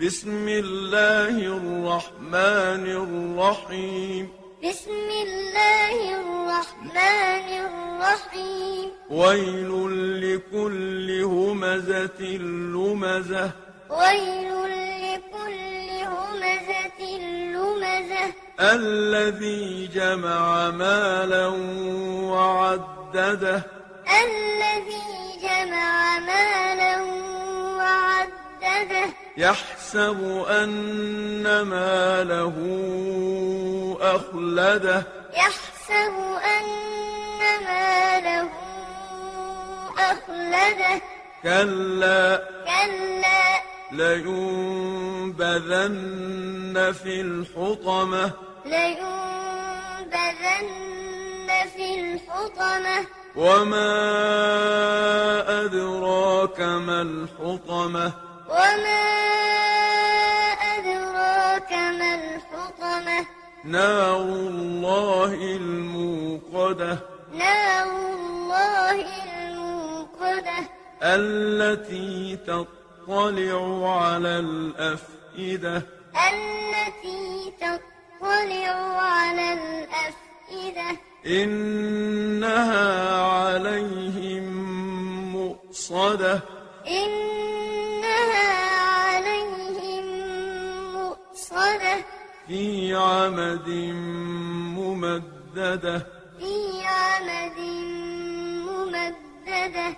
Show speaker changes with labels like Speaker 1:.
Speaker 1: بسم الله الرحمن الرحيم
Speaker 2: بسم الله الرحمن الرحيم
Speaker 1: ويل لكل همزة لمزة
Speaker 2: ويل لكل همزة لمزة
Speaker 1: الذي جمع مالا وعدده
Speaker 2: الذي جمع مالا وعدده
Speaker 1: يحسب أن ماله أخلده
Speaker 2: يحسب أن ماله أخلده
Speaker 1: كلا
Speaker 2: كلا
Speaker 1: لينبذن في الحطمة
Speaker 2: لينبذن في الحطمة
Speaker 1: وما أدراك ما الحطمة
Speaker 2: وما أدراك ما الحطمة
Speaker 1: نار الله الموقدة
Speaker 2: نار الله الموقدة
Speaker 1: التي تطلع على الأفئدة
Speaker 2: التي تطلع على الأفئدة
Speaker 1: إنها عليهم مؤصدة
Speaker 2: إنها عليهم مؤصدة
Speaker 1: في عمد ممدده
Speaker 2: في عمد ممددة